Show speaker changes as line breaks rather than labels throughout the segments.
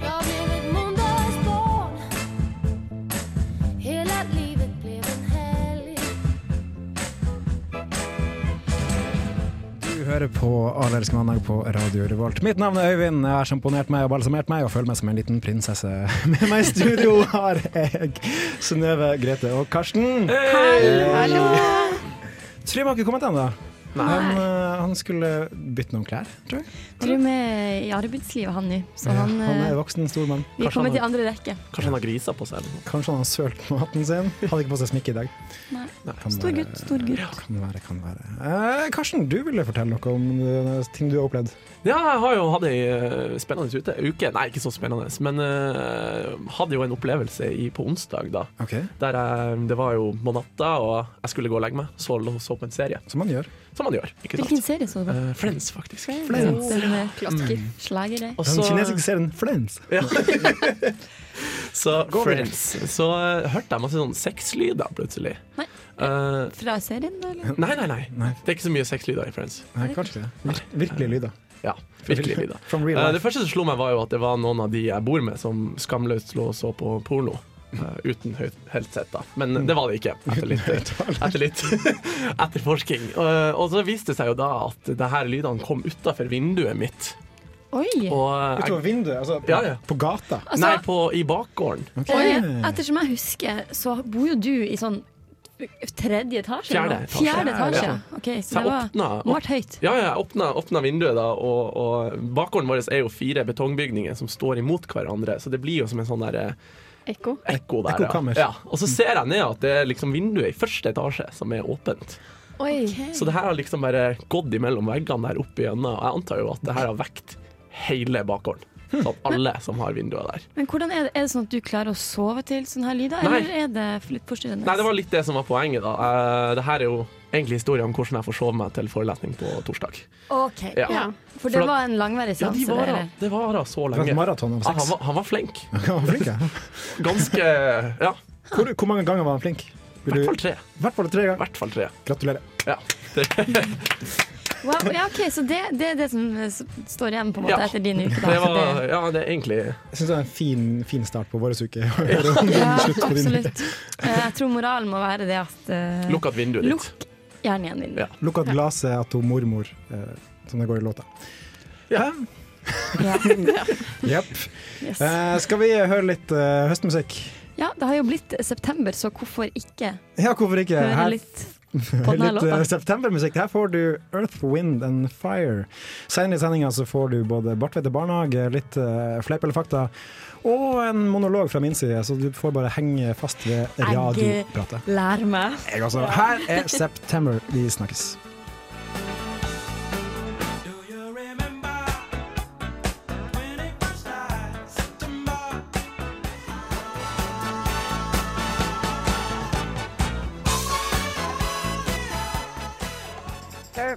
Jag blev ett måndagsbarn Hela livet blev en helg
Du hører på Allersk mandag på Radio Revolt. Mitt navn er Øyvind. Jeg har sjamponert meg og balsamert meg og føler meg som en liten prinsesse. Med meg i studio har jeg Synnøve, Grete og Karsten. Eh,
Hallo!
Trym har ikke kommet ennå. Han, eh, han skulle bytte noen klær, tror jeg.
Trym er i arbeidslivet, han nå. Så han,
Ja,
eh,
er voksen, stor mann.
vi er
Kanskje han
kommet i
har-
andre rekke.
Kanskje han har griser på seg? eller noe.
Kanskje han har sølt maten sin. Hadde ikke på seg sminke i dag.
Nei.
Kan
Stor
være-
gutt, stor gutt.
Kan være, kan være. Eh, Karsten, du ville fortelle noe om eh, ting du har opplevd.
Ja, jeg har jo hatt ei eh, spennende ute, uke. Nei, ikke så spennende, men eh, hadde jo en opplevelse i, på onsdag, da.
Ok,
Der jeg, det var jo på natta, og jeg skulle gå og legge meg. Så, så på en serie,
Som man gjør.
som man gjør. ikke sant?
Hvilken serie så du på?
Eh, Friends, faktisk.
Friends. Den med klassiker. Slagere.
Og
Den
så-
kinesiske serien Friends.
Ja. så
Gå videre.
Friends. Så eh, hørte jeg masse sånn sexlyder plutselig.
Nei.
Eh,
Fra serien, da? eller?
nei, nei, nei.
Nei.
Det er ikke så mye sexlyder i Friends.
Nei, kanskje ikke. det. Vir virkelige lyder.
Ja, virkelig lyder.
From real
Eh,
life.
Det første som slo meg, var jo at det var noen av de jeg bor med, som skamløst lå og så på porno. eh, uten høyt helt sett, da. Men det var det ikke, etter litt, etter litt etterforsking. Eh, og så viste det seg jo da at det her lydene kom utafor vinduet mitt.
Oi!
Og jeg,
Utover vinduet, altså på,
Ja, ja.
på gata.
Altså,
nei, på, i bakgården.
eh, ettersom jeg husker, så bor jo du i sånn tredje etasje?
Fjerde
eller noe?
etasje.
Fjerde etasje.
Ja.
OK,
Så
så
jeg
det var
åpna,
må ha vært høyt.
Ja, ja, jeg åpna, åpna vinduet, da, og, og bakgården vår er jo fire betongbygninger som står imot hverandre, så det blir jo som en sånn derre
Ekko.
ekko der.
Ekkokammer.
Ja. Og så ser jeg ned at det er liksom vinduet i første etasje som er åpent.
Oi.
Så det her har liksom bare gått imellom veggene der oppe igjennom. Og jeg antar jo at det her har vekt hele bakgården. Sånn at alle som har vinduer der.
Men hvordan er det, er det sånn at du klarer å sove til sånne her lyder,
Nei.
eller er det for litt forstyrrende?
Nei, det var litt det som var poenget, da. Eh, det her er jo egentlig historien om hvordan jeg forsov meg til forelesning på torsdag.
OK.
Ja.
Ja. For
For
det
at-
var en langværig
Ja, de
seanse?
var,
dere.
det varer så
Det var
lenge.
et maraton av
Ja, han,
sex.
var, han var flink.
Han var flink, ja.
Ganske Ja,
Hvor, hvor mange ganger var han flink?
i
Vil du-
hvert fall tre.
I hvert fall tre
I
ganger.
hvert fall tre.
Gratulerer.
Ja. Det,
Wow, ja, ok, Så det, det er det som eh, s- står igjen på en måte
Ja.
etter din uke? Da.
det
så
var Ja, det er egentlig
Jeg syns det er en fin, fin start på vår uke.
det, ja,
på din uke.
absolutt. Eh, Jeg tror moralen må være det at eh,
Lukk igjen vinduet ditt.
Lukk gjerne igjen vinduet.
Ja.
Lukk at glaset at hun mormor, eh, som det går i låta.
Ja.
Jepp.
Yes.
Eh, skal vi høre litt eh, høstmusikk?
ja, det har jo blitt september, så hvorfor ikke
Ja, hvorfor ikke?
høre
Her
litt på denne
Litt
låta?
eh, septembermusikk. Her får du Earth, Wind and Fire. Senere i sendinga så får du både Bartveite barnehage, litt eh, fleip eller fakta, og en monolog fra min side, så du får bare henge fast ved radiopratet.
Lær meg.
Jeg altså. Her er September vi snakkes.
Du,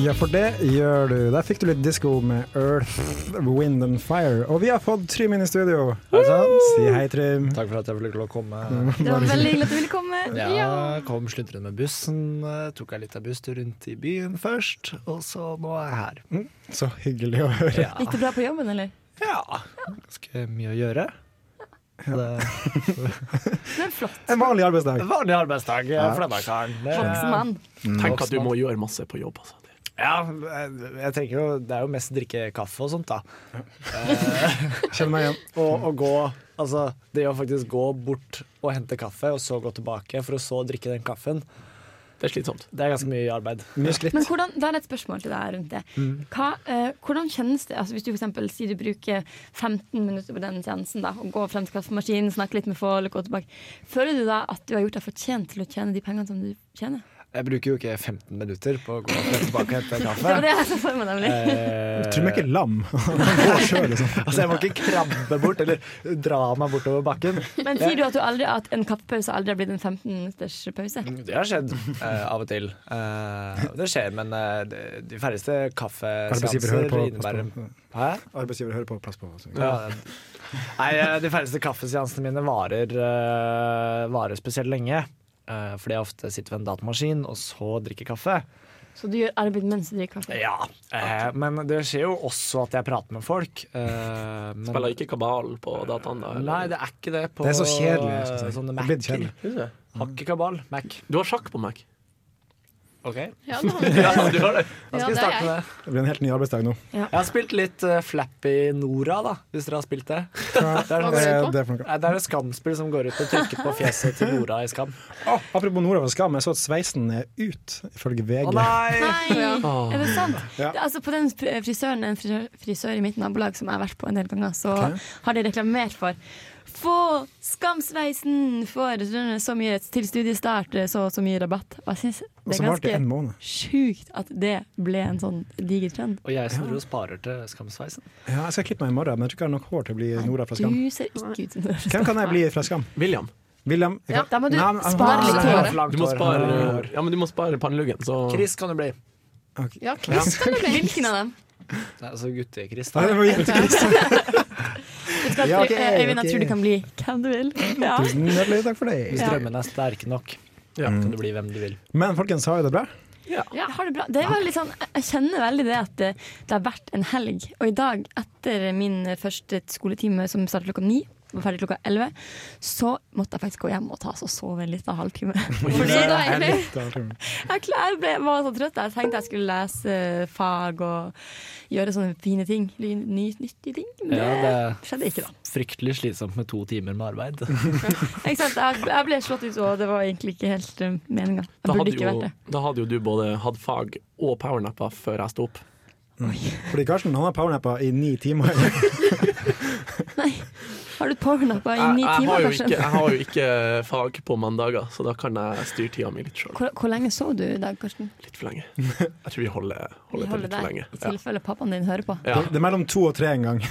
Ja, for det gjør du. Der fikk du litt disko med Earth, Wind and Fire. Og vi har fått Trym inn i studio. Er det sant? Si hei, Trym.
Takk for at jeg fikk lov å komme.
Det var veldig hyggelig at du ville komme.
Ja,
Ja.
Kom slutrende med bussen, eh, tok jeg litt av busstur rundt i byen først, og så nå er jeg her.
Så hyggelig å høre.
Ja,
Gikk det bra på jobben, eller?
ja ganske mye å gjøre. Det er
Men flott.
En vanlig arbeidsdag.
en vanlig arbeidsdag eh, for denne karen. Det-
Voksen mann.
Mm.
Tenk at du må gjøre masse på jobb, altså. Det-
Ja, jeg, jeg tenker jo, det er jo mest drikke kaffe og sånt, da.
Kjenner meg igjen.
Og, og gå Altså, det å faktisk gå bort og hente kaffe, og så gå tilbake for å så drikke den kaffen,
Det er slitsomt.
det er ganske mye arbeid.
Mye skritt.
Men hvordan, da er det et spørsmål til deg rundt det. Hva, eh, hvordan kjennes det altså hvis du for eksempel, sier du bruker 15 minutter på den seansen da, og går frem til kaffemaskinen, snakker litt med folk, går tilbake. Føler du da at du har gjort deg fortjent til å tjene de pengene som du tjener?
Jeg bruker jo ikke 15 minutter på å gå frem og tilbake og hente kaffe.
Det var det jeg så for meg, nemlig.
Eh,
Trym er ikke lam. Han går selv, liksom.
Altså, jeg må ikke krabbe bort eller dra meg bortover bakken.
Men sier du at, du aldri, at en kaffepause aldri har blitt en 15 minutters pause?
Det har skjedd eh, av og til. Eh, det skjer, men eh, de- de færreste
Arbeidsgiver hører
kaffeseanser
på.
innebærer
Pass på.
Hæ?
Arbeidsgiver hører på. Pass på. altså.
Ja. Nei, eh, de færreste kaffeseansene mine varer, eh, varer spesielt lenge. Eh, fordi jeg ofte sitter ved en datamaskin og så drikker kaffe.
Så du gjør arbeid mens du drikker kaffe?
Ja, eh, Men det skjer jo også at jeg prater med folk. Eh, men,
Spiller ikke kabal på dataen, da? eller?
Nei, det er ikke det på
Det er så kjedelig. Synes jeg.
sånne
Det er blitt
Mac-er.
kjedelig.
Synes jeg.
Har ikke kabal. Mac.
Du har sjakk på Mac.
Ja, da har du det.
Ja, du har det.
Da skal vi
det er
starte med det.
Det blir en helt ny arbeidsdag nå.
Jeg har spilt litt eh, Flappy Nora, da, hvis dere har spilt det. Det er,
Eh,
sånn-
Det
Nei,
er for noe.
det er et skamspill som går ut på å trykke på fjeset til Nora i Skam.
Å, apropos Nora for skam, jeg så at sveisen er ut, ifølge VG.
Å nei!
Nei, er det sant?
Ja.
Det, altså på den fri- frisøren, En frisør, frisør i mitt nabolag som jeg har vært på en del ganger, så
Ok.
har de reklamert for Få skamsveisen for så mye til studiestart, så og så mye rabatt. Og jeg synes
Og
det
så
er
varte det en
ganske
måned.
sjukt at det ble en sånn diger trend.
Og jeg står og sparer til Skamsveisen.
Ja, jeg skal klippe meg i morgen, men jeg tror ikke jeg har nok hår til å bli Nora fra Skam.
Du ser ikke ut som du
Hvem kan jeg bli fra Skam?
William.
William? Jeg
Ja,
kan-
da må du
Nei, men-
spare litt
Nei,
hår.
for langt
Du må
hår.
spare, ja, men du må spare panneluggen, så
Chris kan du bli.
Ja, Chris kan det bli.
Hvilken av dem?
Nei, altså gutte-Chris.
Nei, det
da.
var jente-Chris.
Du skal,
Ja, ok,
Øyvind,
ok.
jeg tror du kan bli hvem du vil. Ja.
Tusen hjertelig takk for det.
Hvis drømmene er sterke nok,
Ja.
kan du bli hvem du vil.
Men folkens, har jo det bra?
Ja, har det bra. Det var litt sånn, jeg kjenner veldig det at det, det har vært en helg. Og i dag, etter min første skoletime som startet klokka ni, var ferdig klokka elleve, så måtte jeg faktisk gå hjem og ta oss og sove en liten halvtime. Fordi jeg, jeg, klar- jeg ble, var så trøtt. Jeg tenkte jeg skulle lese fag og gjøre sånne fine ting. Ny, ny- nyttige ting. Men det,
Ja,
skjedde ikke, da.
Fryktelig slitsomt med to timer med arbeid.
Ikke sant? Jeg, jeg ble slått ut, og det var egentlig ikke helt uh, meninga.
da hadde,
Jeg burde
jo,
ikke vært det.
da hadde jo du både hatt fag og powernappa før jeg sto opp.
Fordi Karsten han har powernappa i ni timer.
Har du powernappa i
Jeg,
ni
jeg, har
timer,
jo ikke,
Karsten?
jeg har jo ikke fag på mandager, så da kan jeg styre tida mi litt sjøl.
Hvor, hvor lenge sov du i dag, Karsten?
Litt for lenge. Jeg tror vi holder,
Vi
holder til litt
holder
for
deg,
lenge.
i tilfelle pappaen din hører på.
Ja.
Det er mellom to og tre en gang.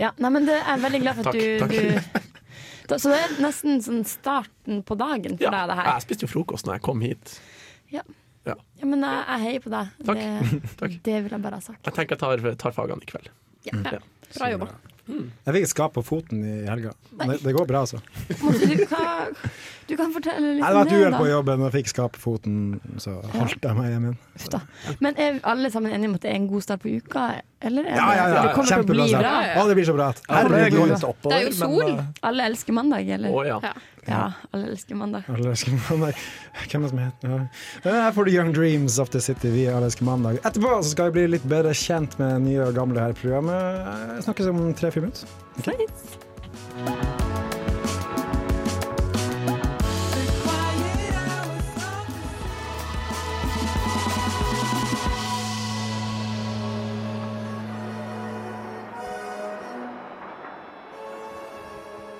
Ja, nei, men det er jeg veldig glad for at
Takk,
du, du da, Så det er nesten sånn starten på dagen for
Ja.
deg, det
ja.
her.
Jeg spiste jo frokost når jeg kom hit.
Ja, men jeg, jeg heier på deg.
Takk.
Det,
Takk.
det vil jeg bare ha sagt.
Jeg tenker jeg tar, tar fagene i kveld.
Ja, bra. bra jobba.
Jeg fikk et skap på foten i helga. Det, det går bra, altså. Jeg
Måtte du, hva- du kan fortelle litt
hadde
om
vært uhell på
det.
jobben og fikk skap på foten, så holdt jeg meg hjemme. igjen.
Da. Uff da. Men er alle sammen enige om at det er en god start på uka? Eller er det,
Ja, ja,
det
ja.
kommer til å
Kjempebra.
bli bra?
sagt. Å, det blir så bra.
det, går
Herregud.
litt oppover,
Det er jo sol.
men, eh,
Alle elsker mandag,
Å
eller?
ja.
Ja.
Ja, alle elsker mandag.
Allerske mandag. Hvem er det som heter ja. Her får du Young Dreams of the City via Allerske mandag. Etterpå så skal vi bli litt bedre kjent med nye og gamle her i programmet. Jeg snakkes om tre-fire minutter.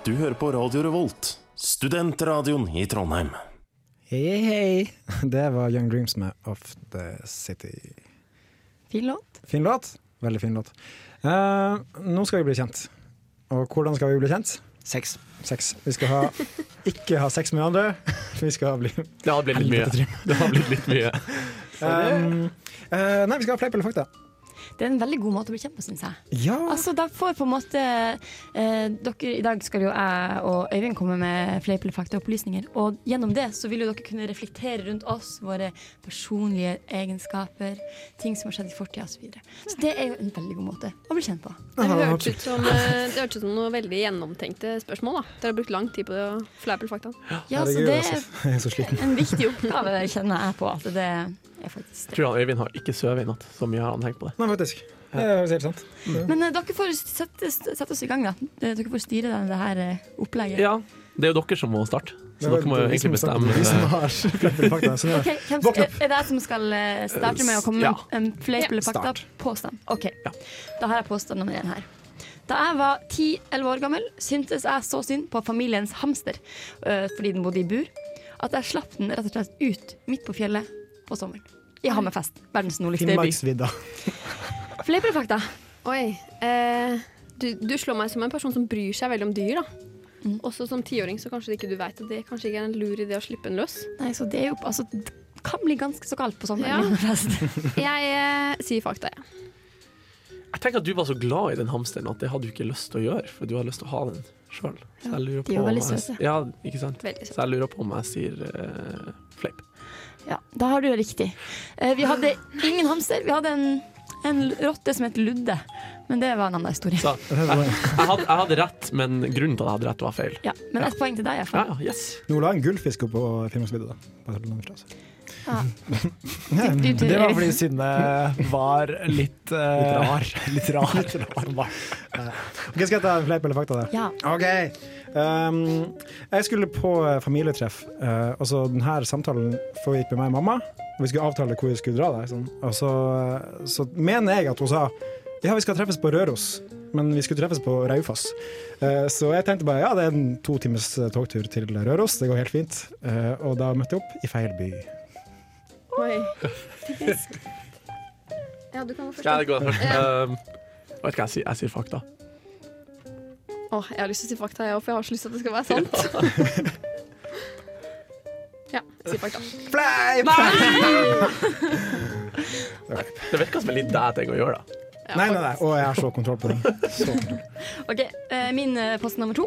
Du hører på Radio Revolt, studentradioen i Trondheim.
Hei, hei. Det var Young Dreams med Of The City.
Fin låt.
Fin låt. Veldig fin låt. Eh, nå skal vi bli kjent. Og hvordan skal vi bli kjent?
Sex.
Sex. Vi skal ha, ikke ha sex med andre. Vi skal bli
Det har blitt litt mye. Det har blitt litt mye.
Um, eh, Nei, vi skal ha fleip eller fakta.
Det er en veldig god måte å bli kjent på, syns jeg.
Ja.
Altså, da får på en måte eh, dere, I dag skal jo jeg og Øyvind komme med fleip eller fakta-opplysninger. Og gjennom det så vil jo dere kunne reflektere rundt oss, våre personlige egenskaper, ting som har skjedd i fortida osv. Så, videre. så det er jo en veldig god måte å bli kjent på.
Det hørtes ut, som, eh, det hørtes ut som noe veldig gjennomtenkte spørsmål. da Dere har brukt lang tid på det å fleipe eller fakta.
Ja, så
Herregud,
det
altså.
er
Jeg er så sliten.
en viktig oppgave, kjenner jeg på. At det er faktisk det.
Tror han Øyvind har ikke sovet i natt, så mye har han tenkt på det.
Nei, faktisk. Det er helt sant.
Men eh, dere får sette, sette oss i gang, da. Eh, Dere får styre det, det her eh, opplegget.
Ja, det er jo dere som må starte, så dere må jo egentlig bestemme.
Vi som har fleip eller fakta. Så nå-
Ok, hvem
Våkn
skal, er det jeg som skal eh, starte med å komme
Ja.
med en fleip eller fakta?
Start.
Påstand. Ok,
Ja.
Da har jeg påstand nummer én her. Da jeg var 10-11 år gammel, syntes jeg så synd på familiens hamster eh, fordi øh, den bodde i bur. at jeg slapp den rett og slett ut midt på fjellet på sommeren. I Hammerfest, verdens nordligste by.
Finnmarksvidda.
Fleipere fakta.
Oi. Eh, du, du slår meg som en person som bryr seg veldig om dyr. da.
Mm.
Også som tiåring så kanskje ikke du vet at det kanskje ikke er en lur idé å slippe den løs.
Nei, så det er jo altså, det kan bli ganske så kaldt på sommeren
Ja.
i Hammerfest.
Jeg eh, sier fakta, jeg.
Jeg tenker at du var så glad i den hamsteren at det hadde du ikke lyst til å gjøre, for du har lyst til å ha den sjøl. Så jeg lurer
de
på
er jo
om
veldig
jeg-
søte.
Ja, ikke sant?
Veldig søt.
Så jeg lurer på om jeg sier eh, fleip.
Ja, da har du det riktig. Eh, Vi hadde ingen hamster. Vi hadde en, en rotte som het Ludde. Men det var en annen historie.
Så jeg, jeg, hadde, jeg hadde rett, men grunnen til at jeg hadde rett, var feil.
Ja, men ett poeng til
Ja,
deg, iallfall.
ja, yes.
Nå la en gullfisk opp på Finnmarksvidda, da. Bare langt fra seg.
Ja.
Nei,
Du, du,
Det var
Eivind.
fordi Synne var litt eh, Litt rar. Litt rar.
Ok, skal jeg ta en fleip eller fakta der?
Ja.
Ok. Um, jeg skulle på eh, familietreff, eh, og så denne samtalen foregikk med meg og mamma. Og vi skulle avtale hvor vi skulle dra. Der, sånn. Og så, eh, så mener jeg at hun sa ja, vi skal treffes på Røros, men vi skulle treffes på Raufoss. Eh, så jeg tenkte bare ja, det er en to times eh, togtur til Røros, det går helt fint. Eh, og da møtte jeg opp i feil by.
Oi. Ja, du kan gå først.
Ja, det går først. Um, vet ikke hva jeg sier. Jeg sier fakta.
Åh, jeg har lyst til å si fakta, jeg òg, for jeg har så lyst til at det skal være sant. Ja, jeg sier fakta.
Fleip!
Det virker som en litt deg ting å gjøre, da.
Nei, nei, nei. Og jeg har så kontroll på det. Så kontroll.
Ok, eh, Min eh, post nummer to.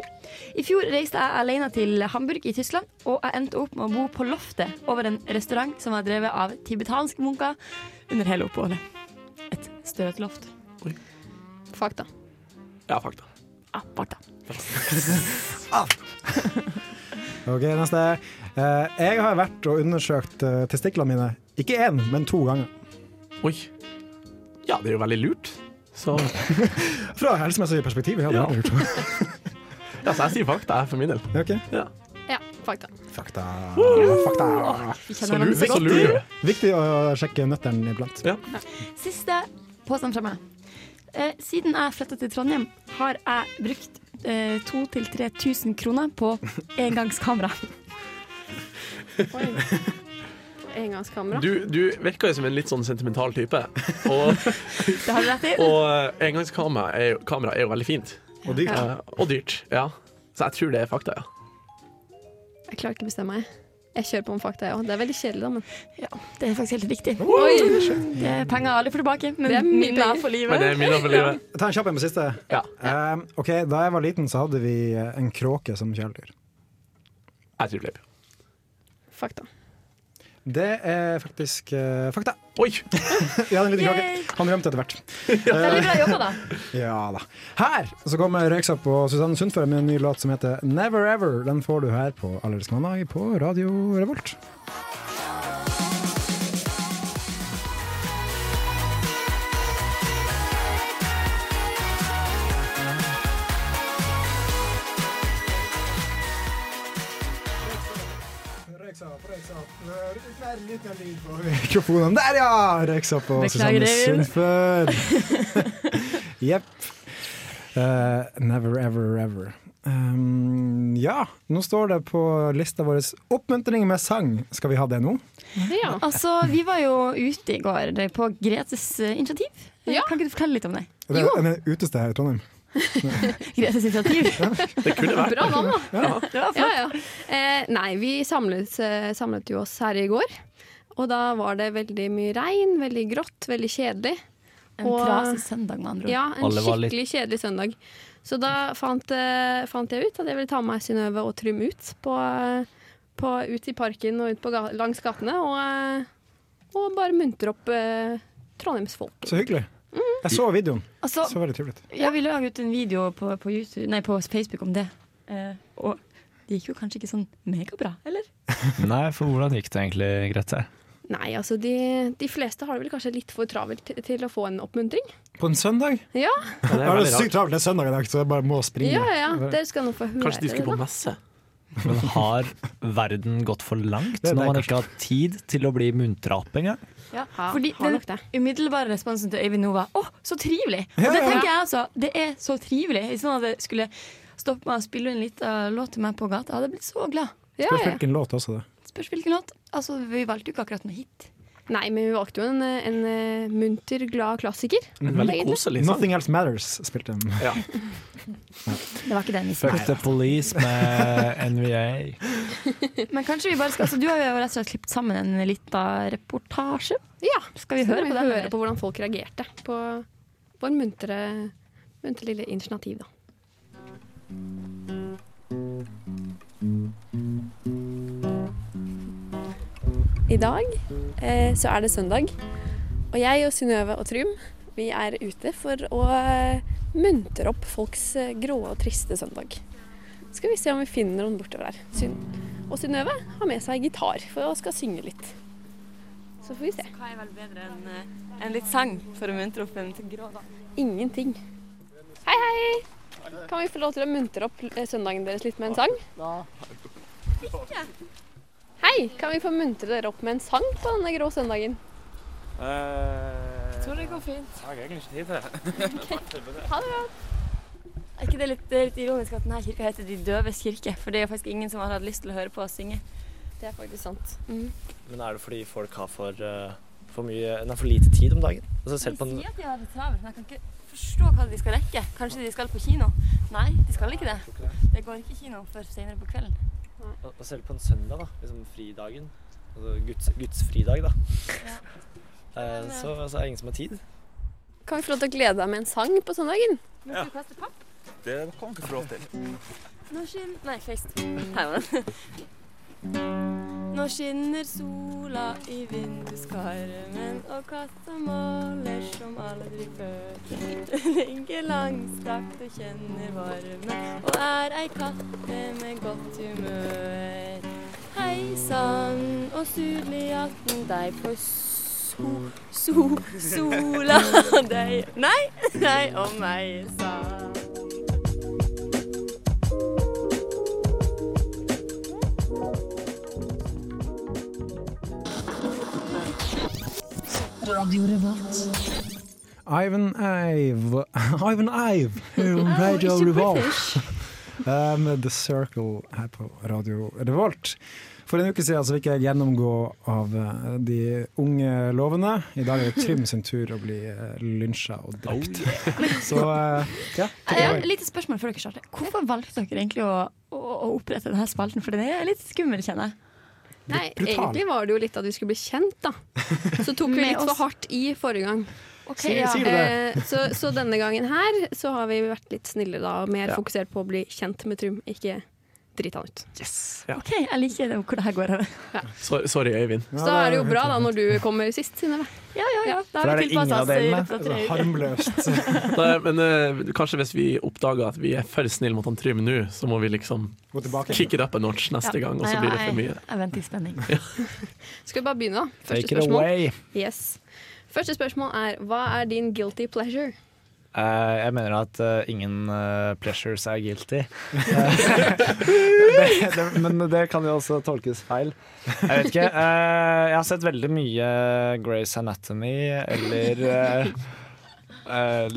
I fjor reiste jeg alene til Hamburg i Tyskland, og jeg endte opp med å bo på loftet over en restaurant som var drevet av tibetanske munker under hele oppholdet. Et støvet loft.
Fakta.
Ja, fakta.
Ah, Barta.
Ok, neste. Eh, jeg har vært og undersøkt eh, testiklene mine ikke én, men to ganger.
Oi. Ja, det er jo veldig lurt. Så,
Fra helsemessig perspektiv. Ja, det
Ja.
har jeg gjort.
ja, så jeg sier fakta, jeg, for min del.
Ok.
Ja.
Ja, fakta.
Fakta. Fakta.
Vi
Så,
kjenner
lur,
hverandre
så
så godt.
lurer du.
Viktig å sjekke nøttene iblant.
Ja.
Siste påstand fra meg. Eh, siden jeg flytta til Trondheim, har jeg brukt eh, 2000-3000 kroner på engangskamera.
Oi. Engangskamera.
Du, du virker jo som en litt sånn sentimental type. Og,
Det har du rett i.
og eh, engangskamera er, jo- kamera er jo veldig fint.
Og dyrt.
Eh, og dyrt. Ja. Så jeg tror det er fakta, ja.
Jeg klarer ikke å bestemme meg. Jeg kjører på med fakta, jeg òg. Det er veldig kjedelig, da, men
Ja, det er faktisk helt riktig.
Oi!
Det er penger alle får tilbake, men
Det er mye
minnet
penger.
er for
Men
livet.
det er minner for livet.
Ta en kjapp en på siste.
Ja.
Eh, ok, Da jeg var liten, så hadde vi eh, en kråke som kjæledyr.
Jeg tror fleip.
Fakta.
Det er faktisk eh, fakta.
Oi!
Vi hadde en liten
Yay!
kråke. Han rømte etter hvert.
Veldig bra jobba, da.
Ja da. Her så kommer Røyksopp og Susanne Sundfør med en ny låt som heter Never Ever. Den får du her på Allersk mandag på Radio Revolt. Mikrofonen. Der, ja! Røyksopp og
Beklager,
Susanne
Eivind.
Sundfør. Jepp. Eh, never ever ever. Um, ja, nå står det på lista vår 'Oppmuntring med sang'. Skal vi ha det nå?
Ja.
Altså, Vi var jo ute i går eh, på Gretes eh, initiativ. Eh,
Ja.
Kan ikke du fortelle litt om det?
Det er det er det utested her i Trondheim.
Gretes initiativ.
Det kunne vært
Bra navn, da.
Det var
Ja,
flott.
ja. Eh, nei, vi samlet, eh, samlet jo oss her i går. Og da var det veldig mye regn, veldig grått, veldig kjedelig.
En
Og-
trasig søndag, med andre ord.
Ja, en
Alle var litt-
skikkelig kjedelig søndag. Så da fant, eh, fant jeg ut at jeg ville ta med meg Synnøve og Trym ut. På, eh, på, ut i parken og ut på ga langs gatene. Og, eh, og bare muntre opp eh, Trondheimsfolk.
Så hyggelig. Jeg så videoen.
Altså,
Så veldig trivelig.
Ja, vi la ut en video på, på, YouTube, nei, på Facebook om det. Eh, og det gikk jo kanskje ikke sånn megabra, eller?
Nei, for hvordan gikk det egentlig, Grete?
Nei, altså de, de fleste har det vel kanskje litt for travelt til, til å få en oppmuntring.
På en søndag?
Ja,
Ja, det
Jeg
er
har det
veldig
sykt
rart.
travelt, det er søndag i dag, så jeg bare må springe.
ja, ja. Dere skal nå få høre
Kanskje de
det,
skulle
da.
på messe?
Men har verden gått for langt
Det er
når
det,
man ikke har tid til å bli muntra opp engang?
Ja,
Fordi
har
den
nok det.
umiddelbare responsen til Øyvind nå var 'Å, så trivelig'. Og
Ja,
det
ja.
tenker jeg altså. Det er så trivelig. Hvis noen hadde skulle stoppe meg og spille en liten låt til meg på gata, jeg hadde blitt så glad.
Ja,
Spørs
ja.
hvilken låt også, det.
Spørs hvilken låt. Altså, vi valgte jo ikke akkurat noe hit.
Nei, men vi valgte jo en, en eh, munter, glad klassiker. egentlig.
Nothing Else Matters spilte de.
Det var ikke den nissen.
Fuck the police med NVA.
Men kanskje vi bare skal altså, Du har jo rett og slett klippet sammen en lita reportasje.
Ja,
Skal vi
så
høre
må
på den,
Høre
eller?
på hvordan folk reagerte på vår muntre, muntre lille initiativ, da.
I dag eh, så er det søndag, og jeg og Synnøve og Trym vi er ute for å eh, muntre opp folks eh, grå og triste søndag. Skal vi se om vi finner noen bortover her. Syn og Synnøve har med seg gitar for å skal synge litt. Så får vi se.
Hva er vel bedre enn en litt sang for å muntre opp en grå dag?
Ingenting. Hei, hei! Kan vi få lov til å muntre opp eh, søndagen deres litt med en sang? Hei, kan vi få muntre dere opp med en sang på denne grå søndagen?
Jeg tror det går fint.
Jeg har egentlig ikke tid til det.
Ha det bra.
Er ikke det litt, det er litt ironisk at denne kirka heter De døves kirke? For det er jo faktisk ingen som har hatt lyst til å høre på oss synge. Det er faktisk sant.
Men er det fordi folk har for, eh, for, mye, nei, for lite tid om dagen? Altså, selv på
De
den,
sier at de har det travelt, men jeg kan ikke forstå hva de skal rekke. Kanskje de skal på kino? Nei, de skal ikke det. Det går ikke kino før senere på kvelden.
og og selv på en søndag, da, liksom fridagen, altså Guds, Guds fridag, da, eh, så, så er det ingen som har tid.
Kan vi få lov til å glede deg med en sang på søndagen?
Nå skal vi kaste papp.
Det kommer du ikke få lov til.
Nå skinner Nei, feist. Her var den. Nå skinner sola i vinduskarmen, og katta maler som aldri før. Den ligger langstrakt og kjenner varmen, og er ei katte med godt humør. Hei sann, og sudlig atten deg for so, so, sola deg Nei, nei, og meg sann.
Radio Revolt.
Ivan Ive Ivan Ive,
Oh,
Radio
ikke
Revolt. Eh, Med The Circle her på Radio Revolt. For en uke siden så fikk jeg gjennomgå av eh, de unge lovene. I dag er det Trym sin tur å bli eh, lynsja og drept. Så eh, ja.
Jeg
take it
har
away.
et lite spørsmål før dere starter. Hvorfor valgte dere egentlig å, å, å opprette denne spalten? For den er litt skummel, kjenner jeg.
Nei,
Brutal.
egentlig var det jo litt at vi skulle bli kjent, da. Så tok vi
Med
litt
oss.
for hardt i forrige gang.
Sier- ja. sier du det?
Eh, så, så denne gangen her så har vi vært litt snillere da, og mer
Ja.
fokusert på å bli kjent med Trym, ikke drite han ut.
Ja.
OK, jeg liker det, hvor det her går.
Så, sorry, Øyvind.
Eh, Så da er det jo bra da når du kommer sist, Synnøve.
Ja, ja, ja.
For er det ingen av delene? Altså,
Harmløst.
Nei, men eh, kanskje hvis vi oppdager at vi er for snille mot han Trym nå, så må vi liksom
Gå tilbake.
kick it up a notch neste gang, og så blir det for mye.
Jeg venter i spenning.
Skal vi bare begynne, da?
Take it away.
Yes. Første spørsmål er hva er din guilty pleasure?
Eh, jeg mener at eh, ingen eh, pleasures er guilty. det, det, men det kan jo også tolkes feil. Jeg vet ikke. eh, jeg har sett veldig mye Grace Anatomy eller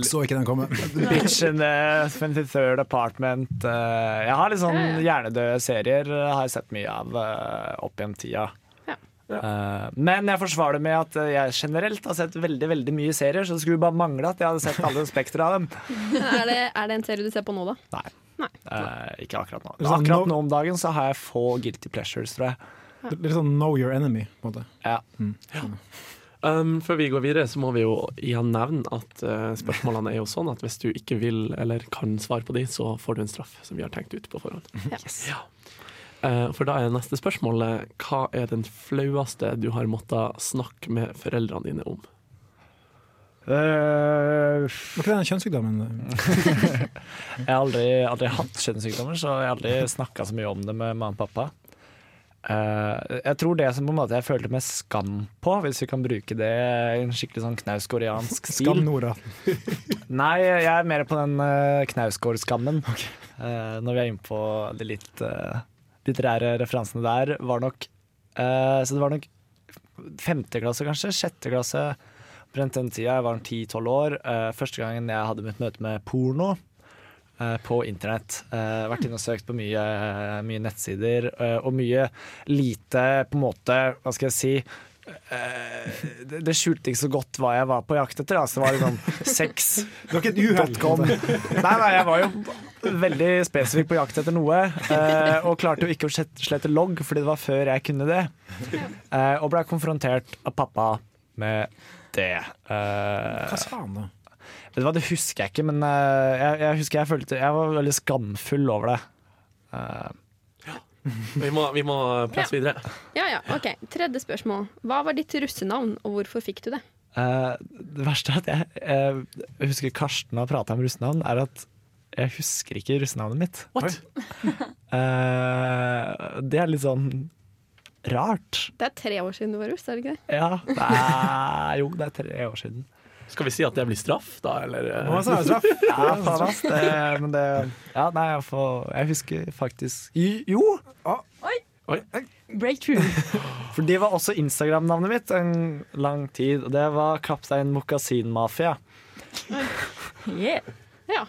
Så ikke den komme.
Bitch in the 23rd eh, Apartment. eh, jeg har litt sånn hjernedøde serier eh, har jeg sett mye av eh, opp gjennom tida. Eh, men jeg forsvarer det med at eh, jeg generelt har sett veldig veldig mye serier, så det skulle bare mangle at jeg hadde sett alle spekter av dem.
er, det, er det en serie du ser på nå, da?
Nei. Eh, ikke akkurat nå.
Sånn,
Akkurat nå om dagen så har jeg få guilty pleasures, tror jeg.
Det er Litt sånn know your enemy, på en måte.
Ja.
Um, før vi går videre, så må vi jo igjen nevne at eh, spørsmålene er jo sånn at hvis du ikke vil eller kan svare på de, så får du en straff som vi har tenkt ut på forhånd. Ja. Eh, for da er neste spørsmål eh, hva er den flaueste du har måttet snakke med foreldrene dine om?
Var
ikke det den kjønnssykdommen?
Jeg har aldri, aldri hatt kjønnssykdommer, så jeg har aldri snakka så mye om det med mamma og pappa. Eh, jeg tror det som på en måte jeg følte mest skam på, hvis vi kan bruke det i en skikkelig sånn knausgårdiansk stil
Skam Nora.
Nei, jeg er mer på den eh, knausgårdskammen. Eh, når vi er inne på de litt eh, litterære referansene der, var nok eh, Så det var nok femte klasse, kanskje? Sjette klasse. Omtrent den tida. Jeg var ti-tolv år. Eh, første gangen jeg hadde mitt møte med porno.
eh, på internett. Eh, vært inne og søkt på mye, mye nettsider eh, og mye lite på en måte, hva skal jeg si eh, det, det skjulte ikke så godt hva jeg var på jakt etter. Altså, det var liksom sex.
Det var ikke et uhell, på en
Nei, nei, jeg var jo veldig spesifikk på jakt etter noe. eh, og klarte jo ikke å slette- slette logg, fordi det var før jeg kunne det. Eh, og blei konfrontert av pappa med det. eh.
Hva sa han da?
Vet du hva, Det husker jeg ikke, men eh, jeg, jeg husker jeg følte Jeg var veldig skamfull over det. Eh,
Vi må, vi må presse
Ja.
videre.
Ja, ja, ok. Tredje spørsmål. Hva var ditt russenavn, og hvorfor fikk du det?
Eh, det verste er at jeg, eh, jeg husker Karsten har prata om russenavn, er at jeg husker ikke russenavnet mitt. Eh, det er litt sånn rart.
Det er tre år siden du var russ, er det ikke det?
Ja, det er, jo, det er tre år siden.
Skal vi si at det blir straff, da? Eller? eh?
Hva sa du, straff? Ja, faen, ass, det- men det Ja, nei, jeg, får, jeg husker faktisk Jo!
Oi.
Breakthrough.
For det var også Instagram-navnet mitt en lang tid, og det var Kaptein Mokasin-mafia.
Ja.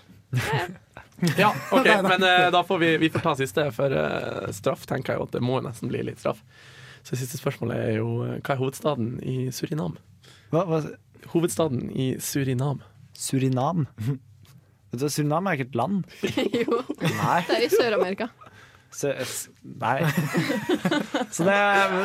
Ja, ok, men eh, da får vi, vi får ta siste, for eh, straff tenker jeg jo at det må nesten bli litt straff. Så siste spørsmålet er jo eh, hva er hovedstaden i Surinam? Hovedstaden i Surinam.
Surinam? Vet du, Surinam er ikke et land.
jo.
Nei.
Det er i Sør-Amerika.
Så, eh, s- nei. Så det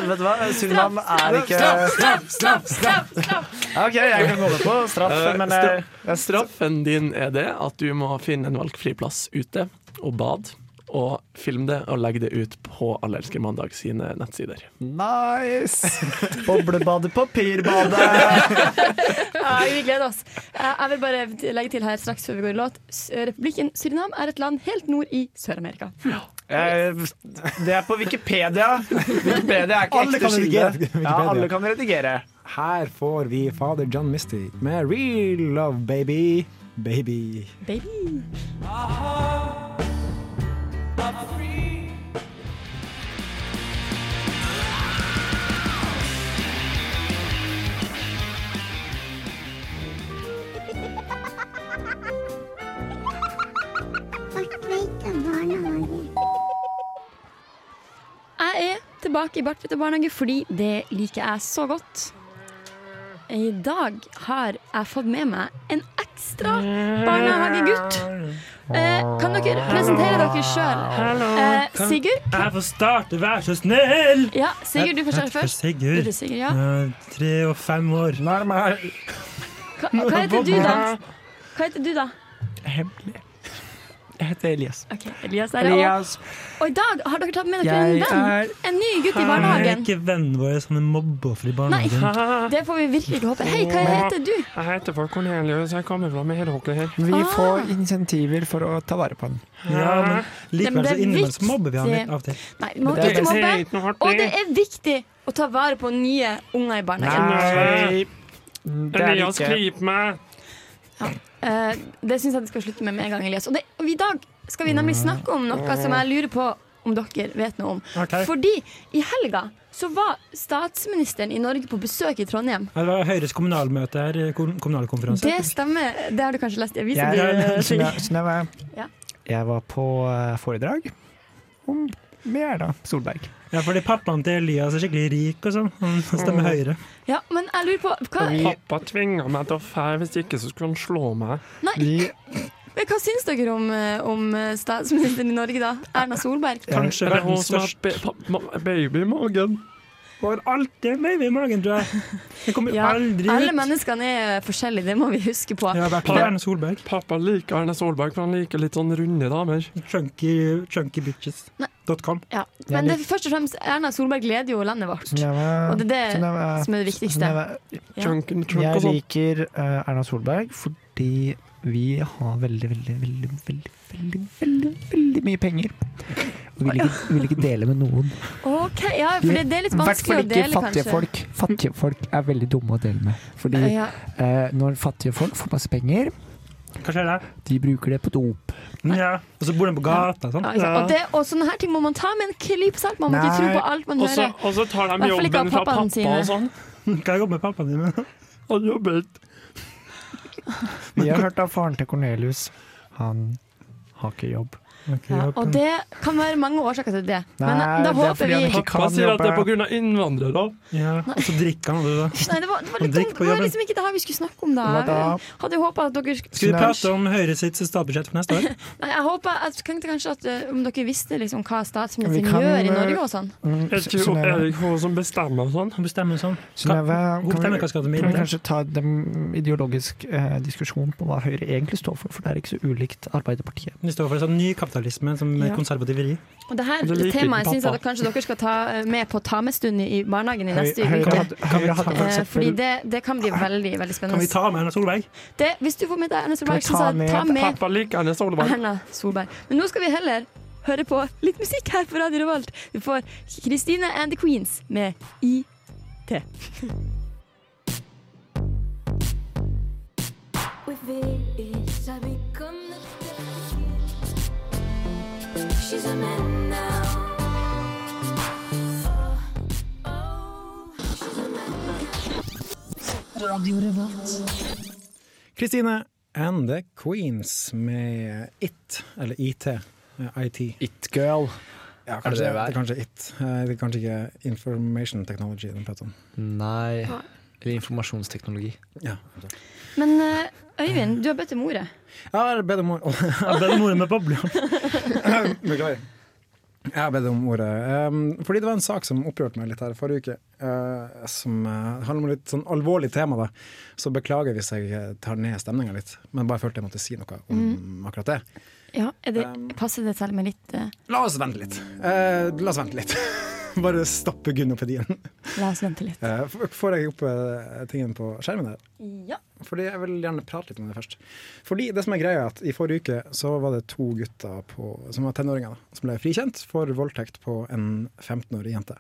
Vet du hva? Surinam er
straff,
ikke
straff, straff, straff, straff,
OK, jeg kan gå med på straff,
Eh,
men
stra-
eh,
straffen din er det at du må finne en valgfri plass ute og bad, og filme det og legge det ut på Allelsker mandag sine nettsider.
Nice! Boblebadet, papirbadet.
Ja, vi gleder oss. Jeg jeg vil bare legge til her straks før vi går i låt. S- eh, Republikken Surinam er et land helt nord i Sør-Amerika.
Eh, Det er på Wikipedia. Wikipedia er ikke
Alle
ekte
kan redigere
kilde.
Wikipedia.
Ja, alle kan redigere.
Her får vi Father John Misty med Real Love Baby. Baby.
Baby. Jeg er tilbake i Bartfritt og barnehage fordi det liker jeg så godt. I dag har jeg fått med meg en ekstra barnehagegutt. Eh, kan dere presentere dere sjøl? Eh, Sigurd?
Jeg får starte, vær så snill!
Ja, Sigurd, du får starte
Jeg heter
først.
Sigurd.
Du er Sigurd, ja.
Jeg er Tre og fem år. Nær meg.
Hva, hva heter du, da? Hva heter du da?
Hemmelig. Jeg heter Elias.
Elias er det. Og, og i dag har dere tatt med dere en
Jeg
venn.
er-
En ny gutt i
Jeg er
barnehagen.
ikke vennene våre som er mobbefri
Nei,
barnehage.
Ah,
det får vi virkelig ikke håpe. Hei, hva heter du?
Jeg heter for Cornelius. Jeg kommer fra Meråker her.
Vi
Ah. får
insentiver for å ta vare på den.
Ja, men
Men
likevel
det
så
er
innimellom så
viktig.
mobber vi han litt av og til.
Nei, må
Det er-
ikke
Det er ikke
mobbe.
noe hardt,
Og
det.
det er viktig å ta vare på nye unger i
Ah.
barnehagen.
Nei.
er det
Elias,
ikke.
grip meg!
Eh, det syns jeg du skal slutte med med en gang, Elias. Og, det, og i dag skal vi nemlig snakke om noe som jeg lurer på om dere vet noe om.
Ok.
Fordi i helga så var statsministeren i Norge på besøk i Trondheim.
Det var Høyres kommunalmøte her, kom- kommunalkonferanse.
Det stemmer. Det har du kanskje lest i avisa?
Jeg-
du,
Sunna-
Sigurd?
Synnøve,
Ja.
jeg var på eh, foredrag om Merda Solberg.
Ja, fordi pappaen til Elias er skikkelig rik og sånn. Han stemmer Høyre.
Ja, men jeg lurer på hva,
Og Pappa tvinga meg til å fære, hvis ikke så skulle han slå meg.
Nei. men hva syns dere om, eh, om statsministeren i Norge, da? Erna Solberg?
Kanskje
Er det hun
verdens
som har ba- pa- ma- baby i magen?
Får alltid en baby i magen, tror jeg. Jeg kommer
Ja,
aldri ut.
alle menneskene er forskjellige, det må vi huske på.
Ja, i hvert fall Erna Solberg.
Pappa liker Erne Solberg, for han liker litt sånn runde damer.
Chunky, chunkybitches.com.
Ja, Men det, først og fremst, Erna Solberg leder jo landet vårt.
Synnøve,
Og det er
Synnøve,
det som er det viktigste.
Synnøve,
Ja.
Jeg
sånn.
liker eh, Erna Solberg fordi vi har veldig, veldig, veldig, veldig, veldig, veldig, veldig mye penger. Og vil ikke, vil ikke dele med noen.
Ok, ja, for det, det er litt vanskelig å
I
dele,
hvert fall ikke
kanskje.
fattige folk. Fattige folk er veldig dumme å dele med. Fordi
Ja.
eh, når fattige folk får masse penger,
Hva skjer der?
de bruker det på dop.
Ja, og så bor de på gata og sånn.
Ja, ikke sant? Og, det, og sånne her ting må man ta med en klype salt. Man må ikke tro på alt man
Også-
hører.
Og så tar de
Hvertfall ikke av
jobben fra
pappaen
pappa
sine.
og sånn.
Hva jobber pappaen din med?
Han jobber
Vi har hørt av faren til Cornelius. Han
Har ikke jobb.
Ja, og det kan være mange årsaker til det. Men
Nei,
eh, da
det er
håper
fordi
vi
han ikke
Pappa
kan
sier at det er
jobbe.
pga. innvandrere.
Ja, og så drikker han, du, da.
Nei, det var, det var
Han
litt
drikker
dumt.
på
Det var
jobben.
liksom ikke det her vi skulle snakke om, da.
Hva da?
Hadde jo håpet at dere
Skal vi prate om Høyre sitt statsbudsjett for neste år?
Nei, jeg håper, jeg tenkte kanskje at eh, om dere visste liksom hva
Vi
statsministeren
kan,
gjør i
eh,
Norge og sånn.
Mm,
Er det ikke
Synnøve.
Erik Hå som bestemmer og sånn?
Bestemmer sånn.
Synnøve,
Hun
kan,
bestemmer
vi-
hva skal til
kan vi
middag.
kanskje ta en ideologisk eh, diskusjon på hva Høyre egentlig står for, for det er ikke så ulikt Arbeiderpartiet.
Det står for sånn ny kapitalisme som
Ja.
konservativ vri.
Og det her
Det liker
temaet
pappa.
syns jeg at kanskje dere skal ta eh, med på ta med-stund i barnehagen i
Høy-
neste
Høyre
uke.
hadde- Høyre hadde for
Eh,
eksempel-
Fordi det, det kan bli veldig veldig
Kan vi
spennende.
ta med Erna Solberg?
Det, hvis du får med deg Erna Solberg, så
Kan vi ta
sa jeg, ta
med-
med
Pappa liker Erna Solberg.
Erna Solberg. Men nå skal vi heller høre på litt musikk her på Radio Revolt. Vi får Christine and the Queens med IT.
We wish I become the girl. She's a man now.
Kristine and the Queens med It, eller IT. eh, IT.
Girl.
Ja,
Er det
kanskje,
det
det,
det er?
er kanskje It. Eh, Det er kanskje ikke Information Technology den prater om.
Nei. Eller informasjonsteknologi.
Ja.
Men eh, Øyvind, du har bedt om ordet.
Jeg har bedt om ordet. Jeg har bedt om ordet med bobler. Beklager. Jeg har bedt om ordet. ehm, fordi det var en sak som opprørte meg litt her forrige uke. eh, som eh, handler om litt sånn alvorlig tema, da. Så beklager hvis jeg eh, tar ned stemninga litt. Men bare følte jeg måtte si noe om akkurat det.
Ja, er det, Passer det selv med litt eh,
La oss vente litt. Eh, la oss vente litt. bare stoppe gunopedien.
La oss vente litt.
Eh, f- får jeg opp eh, tingen på skjermen her?
Ja.
Fordi Jeg vil gjerne prate litt om det først. Fordi det som er greia er at I forrige uke så var det to gutter på, som var tenåringer da, som ble frikjent for voldtekt på en 15-årig jente.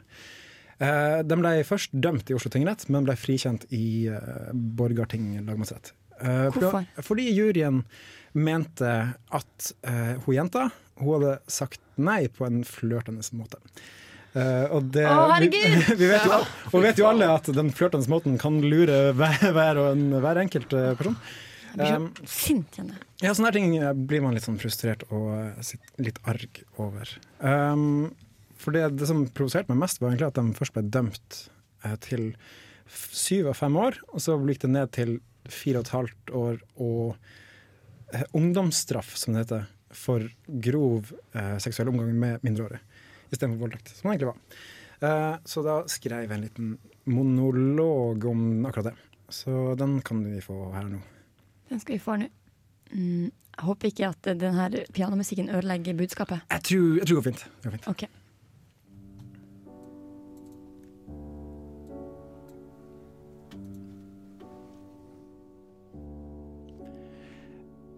Eh, de ble først dømt i Oslo tingrett, men ble frikjent i eh, Borgarting lagmannsrett. Eh, for-
Hvorfor?
Fordi juryen mente at eh, hun jenta hun hadde sagt nei på en flørtende måte. Eh, og det,
Å,
vi,
herregud!
vi vet jo, al- og vet jo alle at den flørtende måten kan lure hver, hver, og en, hver enkelt eh, person.
Jeg blir så
Um,
sint igjen. jeg.
ja, sånne her ting eh, blir man litt sånn frustrert og eh, sitt- litt arg over. Um, for det, det som provoserte meg mest, var egentlig at de først ble dømt eh, til f- syv av fem år, og så gikk det ned til fire og et halvt år og eh, ungdomsstraff, som det heter, for grov eh, seksuell omgang med mindreårige, istedenfor voldtekt, som det egentlig var. Eh, så da skrev jeg en liten monolog om akkurat det. Så den kan vi få her nå.
Den skal vi få nå. Mm, jeg håper ikke at eh, den her pianomusikken ødelegger budskapet.
Jeg tror, jeg tror det går fint. Det går fint.
Ok.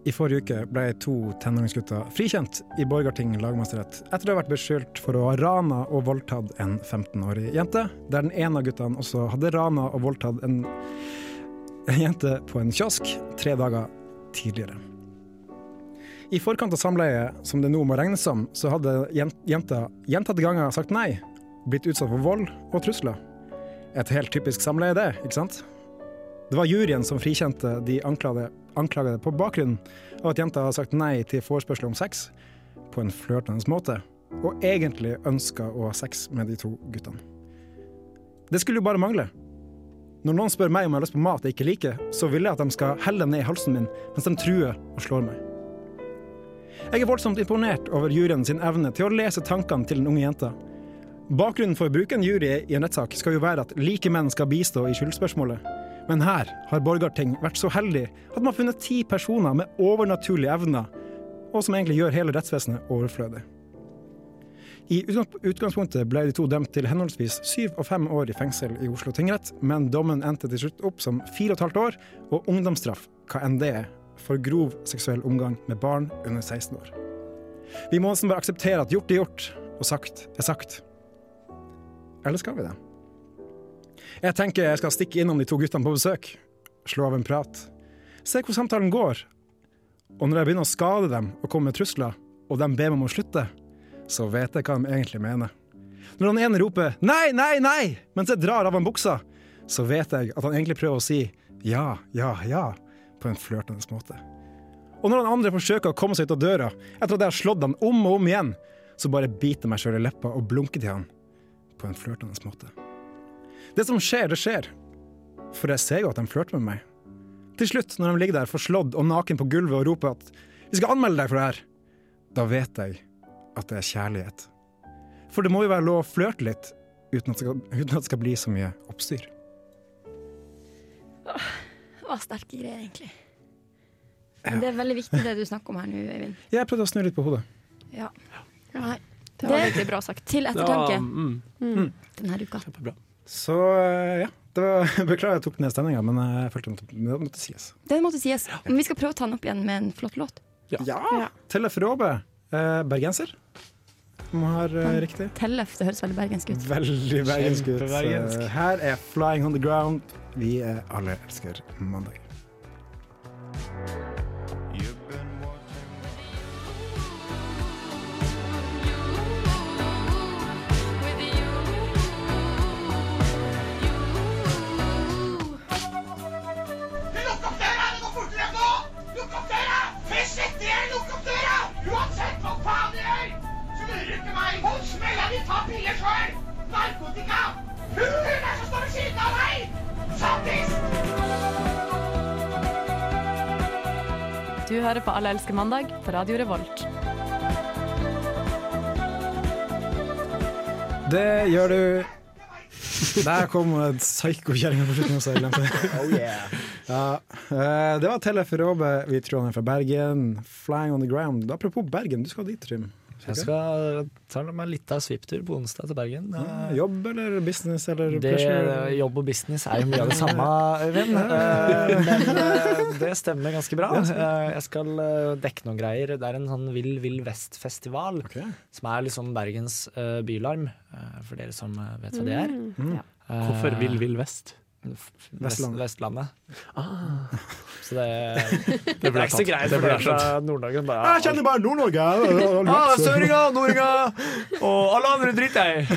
I forrige uke ble to tenåringsgutter frikjent i Borgarting lagmannsrett etter å ha vært beskyldt for å ha rana og voldtatt en 15-årig jente, der den ene av guttene også hadde rana og voldtatt en, en jente på en kiosk tre dager tidligere. I forkant av samleiet, som det nå må regnes som, så hadde jen- jenta gjentatte ganger sagt nei, blitt utsatt for vold og trusler. Et helt typisk samleie, det, ikke sant? Det var juryen som frikjente de anklagede, anklagede på bakgrunn av at jenta hadde sagt nei til forespørsel om sex på en flørtende måte, og egentlig ønska å ha sex med de to guttene. Det skulle jo bare mangle. Når noen spør meg om jeg har lyst på mat jeg ikke liker, så vil jeg at de skal helle ned i halsen min mens de truer og slår meg. Jeg er voldsomt imponert over juryen sin evne til å lese tankene til den unge jenta. Bakgrunnen for å bruke en jury i en rettssak skal jo være at like menn skal bistå i skyldspørsmålet. Men her har Borgarting vært så heldig at man har funnet ti personer med overnaturlige evner, og som egentlig gjør hele rettsvesenet overflødig. I utgangs- utgangspunktet ble de to dømt til henholdsvis syv og fem år i fengsel i Oslo tingrett, men dommen endte til slutt opp som fire og et halvt år og ungdomsstraff, hva enn det er, for grov seksuell omgang med barn under 16 år. Vi må nesten bare akseptere at gjort er gjort, og sagt er sagt. Eller skal vi det? Jeg tenker jeg skal stikke innom de to guttene på besøk, slå av en prat, se hvor samtalen går. Og når jeg begynner å skade dem og komme med trusler, og de ber meg om å slutte, så vet jeg hva de egentlig mener. Når han ene roper 'nei, nei, nei' mens jeg drar av han buksa, så vet jeg at han egentlig prøver å si 'ja, ja, ja' på en flørtende måte. Og når han andre forsøker å komme seg ut av døra, etter at jeg har slått han om og om igjen, så bare biter jeg meg sjøl i leppa og blunker til han på en flørtende måte. Det som skjer, det skjer. For jeg ser jo at de flørter med meg. Til slutt, når de ligger der forslått og naken på gulvet og roper at vi skal anmelde deg for det her, da vet jeg at det er kjærlighet. For det må jo være lov å flørte litt uten at, det skal, uten at det skal bli så mye oppstyr.
Det var sterke greier, egentlig. Men det er veldig viktig det du snakker om her nå, Øyvind.
Jeg prøvde å snu litt på hodet.
Ja. Nei.
Det var veldig bra sagt.
Til
Det
ettertanke
var- mm.
Mm. denne uka.
Så eh, ja. Det var, beklager jeg tok ned stemninga, men eh, jeg følte det måtte, det måtte sies.
Den måtte sies. Men vi skal prøve å ta den opp igjen med en flott låt.
Ja! Tellef Råbe, eh, bergenser. Om jeg har eh, riktig.
Tellef, det høres veldig bergensk ut.
Veldig bergensk ut.
Kjempebergensk.
Eh, Her er 'Flying on the Ground'. Vi eh, alle elsker mandag.
Lukk opp døra! Det går fortere nå! Lukk opp døra! Først etter jeg lukk opp døra! Uansett hva faen du gjør, så lurer du ikke meg. Hold smella di, ta piller sjøl! Narkotika! Hun der som står ved siden av deg! Sattis!
Du hører på Alle elsker mandag på Radio Revolt.
Det gjør du Der kom en psyko-kjerring på slutten. Også, jeg glemte det. ja. eh, det var Tellef Råbe, vi tror han er fra Bergen. 'Flying on the ground'. Apropos Bergen, du skal dit, Trym.
Jeg skal ta meg litt av svipptur på onsdag til Bergen. Eh,
Ja, Eh, Jobb eller business eller
Det,
pleasure?
jobb og business er jo mye av det samme, Øyvind. Eh, Men eh, det stemmer ganske bra. Eh, Jeg skal eh, dekke noen greier. Det er en sånn Vill Vill Vest-festival, som er liksom Bergens eh, bylarm, eh, for dere som eh, vet hva det er.
Mm.
Eh,
Hvorfor Vill Vill Vest?
Vest-
Vestlandet.
Vestlandet.
Ah.
Så det, det,
ble
er ikke så
tatt.
greit
Det
for
ble
dere fra
skjønt.
Nord-Norge. Bare,
Jeg kjenner
bare Nord-Norge!
Ah, Søringa, nordinga og alle andre driter jeg i.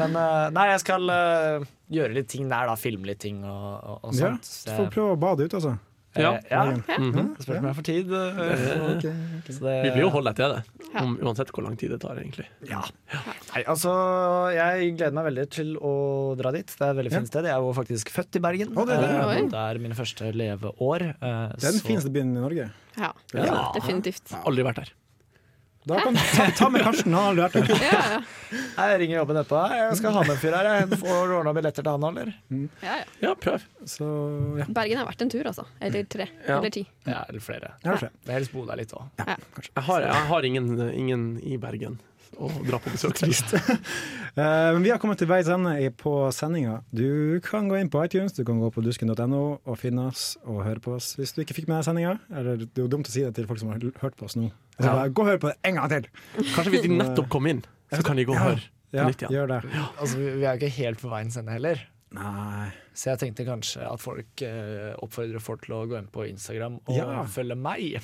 Men eh, nei, jeg skal eh, gjøre litt ting der, da. Filme litt ting og, og, og
Ja,
sånt.
du får prøve å bade ut, altså.
Eh, ja.
Bergen. Mhm.
Det spørs om jeg får tid. eh.
Ja, ok,
Så
Vi vil jo holde deg til det, om, uansett hvor lang tid det tar, egentlig.
Ja. Nei, altså, jeg gleder meg veldig til å dra dit. Det er et veldig fint sted. Jeg er jo faktisk født i Bergen.
Å, det er det.
Eh,
Oi.
det er mine første leveår. eh,
Det er den
så-
fineste byen i Norge.
Ja,
Ja.
definitivt.
Aldri vært der.
Da kan ta, ta med Karsten, han har aldri vært der.
Jeg ringer jobben etterpå. Jeg skal ha med en fyr her. jeg. Får du ordna billetter til han, eller?
Ja, ja.
Ja, prøv.
Så, ja.
Bergen har vært en tur, altså. Eller tre.
Ja.
Eller ti.
Ja, eller flere.
Ja, eller flere.
Men helst bo der litt òg.
Jeg har, jeg har ingen, ingen i Bergen å dra på besøk til.
Eh, Men vi har kommet til veis ende i- på sendinga. Du kan gå inn på iTunes, du kan gå på dusken.no og finne oss og høre på oss hvis du ikke fikk med deg sendinga. Eller det er jo dumt å si det til folk som har l- hørt på oss nå. Altså,
Ja.
bare, gå og hør på det en gang til! eh,
Kanskje hvis de nettopp kom inn, så kan de gå og høre
Ja,
på nytt igjen.
gjør det.
Altså, vi vi er jo ikke helt på veiens ende heller.
Nei.
Så jeg tenkte kanskje at folk eh, oppfordrer folk til å gå inn på Instagram og
Ja.
følge meg.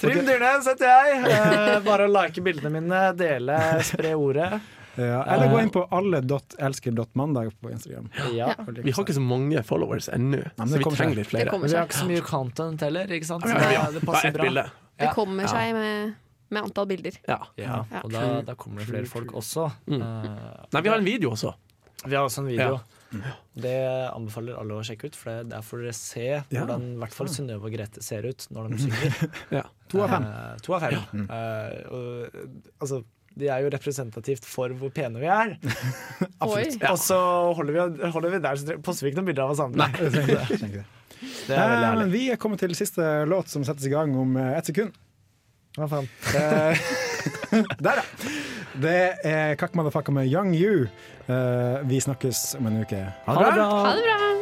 Trym Dyrnes heter jeg. Eh, bare like bildene mine, dele, spre ordet.
Ja, eller gå inn på alle.elsker.mandag på Instagram.
Ja.
Vi har ikke så mange followers ennå,
men
så
det
vi
kommer
trenger
seg.
litt flere.
Men vi har ikke så mye content heller, ikke sant?
Ja, ja,
Så det,
ja.
det passer
Bare ett
bra.
bilde.
Det
Ja.
kommer
Ja.
seg med, med antall bilder.
Ja.
Ja,
Ja.
og da, da kommer det flere folk også. Eh,
Nei, vi har en video også.
Vi har også en video.
Ja.
Det anbefaler alle å sjekke ut, for det- der får dere se hvordan i hvert fall Synnøve og Grete ser ut når de synger.
To av fem.
Eh, to av fem. Eh, og, altså, de er jo representativt for hvor pene vi er.
Absolutt.
Og så holder vi, holder vi der, så poster vi ikke noen bilder av oss andre.
Jeg trenger ikke det, Eh, jeg trenger ikke det.
Det er veldig
Eh,
herlig.
men vi er kommet til siste låt, som settes i gang om eh, ett sekund.
Hva faen?
Eh, Der, ja. Det er Kakk Motherfucker med Young You. Eh, vi snakkes om en uke.
Ha det bra.
Ha det bra!